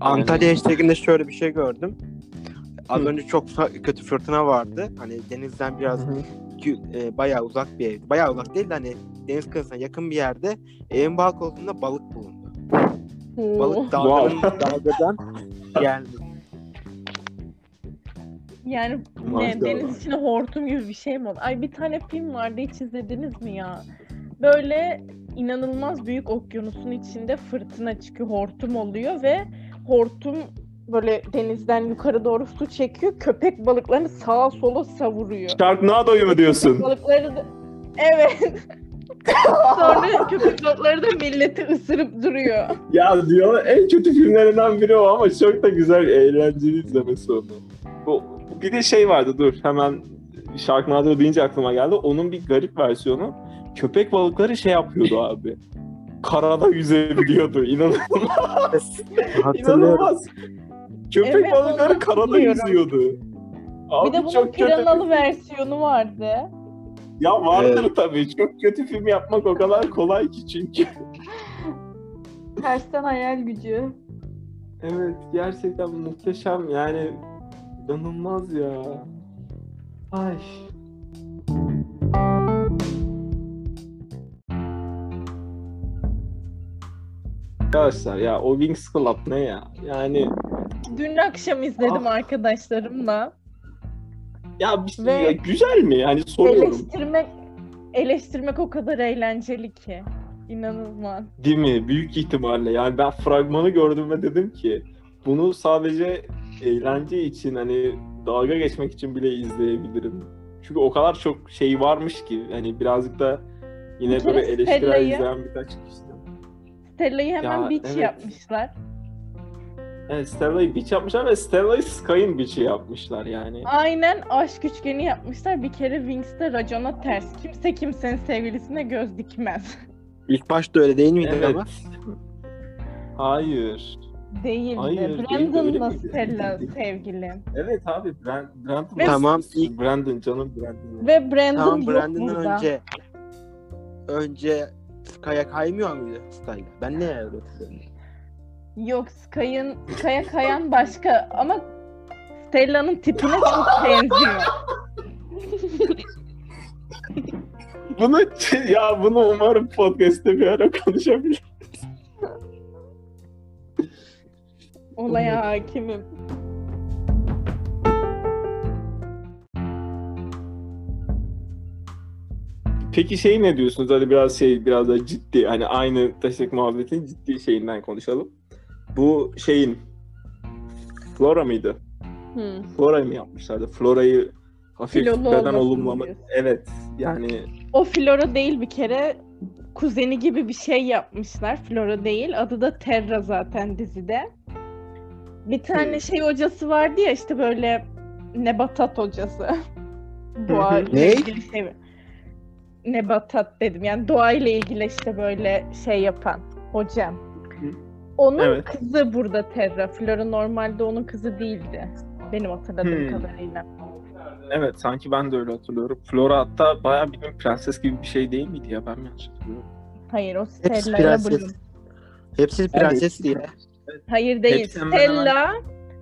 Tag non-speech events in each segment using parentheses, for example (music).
Antalya hashtaginde şöyle bir şey gördüm. Az Hı. önce çok fa- kötü fırtına vardı. Hani denizden biraz Hı hı. kü- e, bayağı uzak bir ev. Bayağı uzak değil de hani deniz kıyısına yakın bir yerde evin balkonunda balık bulundu. Balık dalganın dalgadan (laughs) geldi. Yani ne, Maşallah. deniz içine hortum gibi bir şey mi oldu? Ay bir tane film vardı hiç izlediniz mi ya? Böyle inanılmaz büyük okyanusun içinde fırtına çıkıyor, hortum oluyor ve hortum böyle denizden yukarı doğru su çekiyor. Köpek balıklarını sağa sola savuruyor. Sharknado'yu mu diyorsun? Balıkları da... (laughs) Evet. Sonra köpek balıkları da milleti ısırıp duruyor. ya diyorlar en kötü filmlerinden biri o ama çok da güzel, eğlenceli izlemesi onu. Bu, bir de şey vardı dur hemen Sharknado deyince aklıma geldi. Onun bir garip versiyonu. Köpek balıkları şey (laughs) yapıyordu abi. Karada yüzebiliyordu. İnanılmaz. (laughs) Hatırlıyorum. inanılmaz. Köpek Evet, balıkları onu karada hatırlıyorum. yüzüyordu. Abi bir de bunun çok kötü. piranalı versiyonu vardı. Ya vardır tabii. Çok kötü film yapmak o kadar kolay ki çünkü. Tersten hayal gücü. Evet gerçekten muhteşem yani inanılmaz ya. Ay. Arkadaşlar ya o Wings Club ne ya? Yani Dün akşam izledim Ah. arkadaşlarımla. ya, bir, şey Ve- ya güzel mi? Yani soruyorum. Eleştirmek eleştirmek o kadar eğlenceli ki. İnanılmaz. Değil mi? Büyük ihtimalle. Yani ben fragmanı gördüm ve dedim ki bunu sadece eğlence için hani dalga geçmek için bile izleyebilirim. Çünkü o kadar çok şey varmış ki hani birazcık da yine Bir kere böyle eleştirel Stella'yı- izleyen birkaç kişi. Stella'yı hemen Ya, beach evet. yapmışlar. Evet Stella'yı Beach yapmışlar ve Stella'yı Sky'ın Beach'i yapmışlar yani. Aynen aşk üçgeni yapmışlar. Bir kere Wings'te racona ters. Kimse kimsenin sevgilisine göz dikmez. (laughs) İlk başta öyle değil miydi ama? Hayır. Değildi. Hayır, değil, öyle Brandon'la miydi? Stella Değil. sevgili. Evet abi Brand, Brandon. Ve- Tamam, ilk- Brandon canım Brandon. Ve Brandon Tamam yok Brandon'dan burada. önce önce Sky'a kaymıyor muydu Sky'la? Ben ne yapıyorum? Yok Sky'ın, Sky'a kayan başka ama Stella'nın tipine çok (laughs) benziyor. Bunu (laughs) ya bunu umarım podcast'te bir ara konuşabiliriz. Olaya hakimim. Peki şey ne diyorsunuz? Hadi biraz şey biraz da ciddi hani aynı taşak muhabbetin ciddi şeyinden konuşalım. Bu şeyin Flora mıydı? Hı. Flora'yı mı yapmışlardı? Flora'yı hafif Filolu beden olmasın olumlama. diyorsun. Evet yani O Flora değil bir kere kuzeni gibi bir şey yapmışlar. Flora değil. Adı da Terra zaten dizide. Bir tane Hı. şey hocası vardı ya işte böyle nebatat hocası. Hı Doğa hı. Ne? ilgili şey. Nebatat dedim. Yani doğayla ilgili işte böyle şey yapan hocam. Onun Evet. kızı burada Terra. Flora normalde onun kızı değildi. Benim hatırladığım Hı. kadarıyla. evet sanki ben de öyle hatırlıyorum. Flora hatta bayağı bir prenses gibi bir şey değil miydi ya ben mi yanlış hatırlıyorum? Hayır o Stella'ya prenses. Bloom. Hepsi prenses diye. Hayır değil. Hepsi hemen hemen- Stella,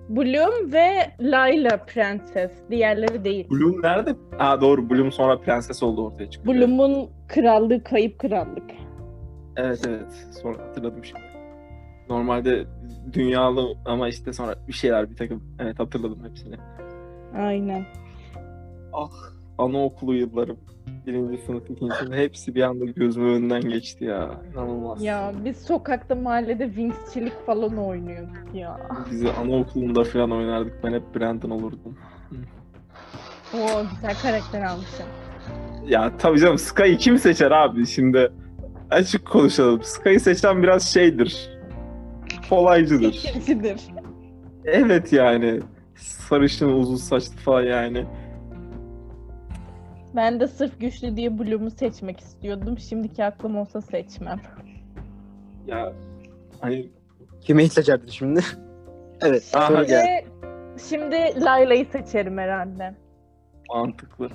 Bloom ve Layla prenses. Diğerleri değil. Bloom nerede? Ha doğru Bloom sonra prenses oldu ortaya çıktı. Bloom'un krallığı kayıp krallık. Evet evet. Sonra hatırladım şimdi. Normalde dünyalı ama işte sonra bir şeyler bir takım. Evet hatırladım hepsini. Aynen. Anaokulu yıllarım. Birinci sınıf, ikinci sınıf. Hepsi bir anda gözümün önünden geçti ya. İnanılmaz. Ya biz sokakta mahallede Wings'çilik falan oynuyorduk ya. Bizi anaokulunda falan oynardık. Ben hep Brandon olurdum. Oo güzel karakter almışım. Ya tabii canım Sky'ı kim seçer abi şimdi? Açık konuşalım. Sky'ı seçen biraz şeydir. Kolaycıdır. Geçiricidir. evet yani. Sarışın uzun saçlı falan yani. Ben de sırf güçlü diye Bloom'u seçmek istiyordum. Şimdiki aklım olsa seçmem. Ya hani Kimi seçerdin şimdi? evet. Aha, soru Şimdi, geldi. şimdi Layla'yı seçerim herhalde. Mantıklı.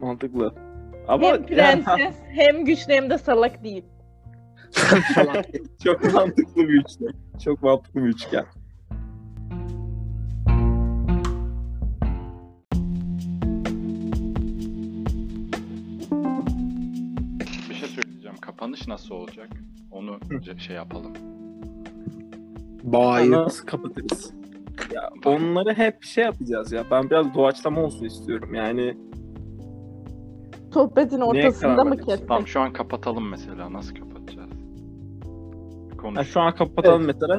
Mantıklı. Ama hem yani, (laughs) prenses hem güçlü hem de salak değil. falan. Çok mantıklı bir üçgen. Çok mantıklı bir üçgen. Bir şey söyleyeceğim. Kapanış nasıl olacak? Onu ce- şey yapalım. Ay, Bayır. Nasıl kapatırız? Ya onları hep şey yapacağız ya. Ben biraz doğaçlama olsun istiyorum. Yani Sohbetin ortasında karar mı verdiniz? kessek? Tamam şu an kapatalım mesela. Nasıl kapatacağız? ha, Konuş. şu an kapatalım mesela.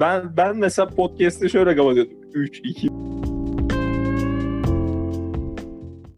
Ben ben mesela podcast'i şöyle kapatıyordum. 3 2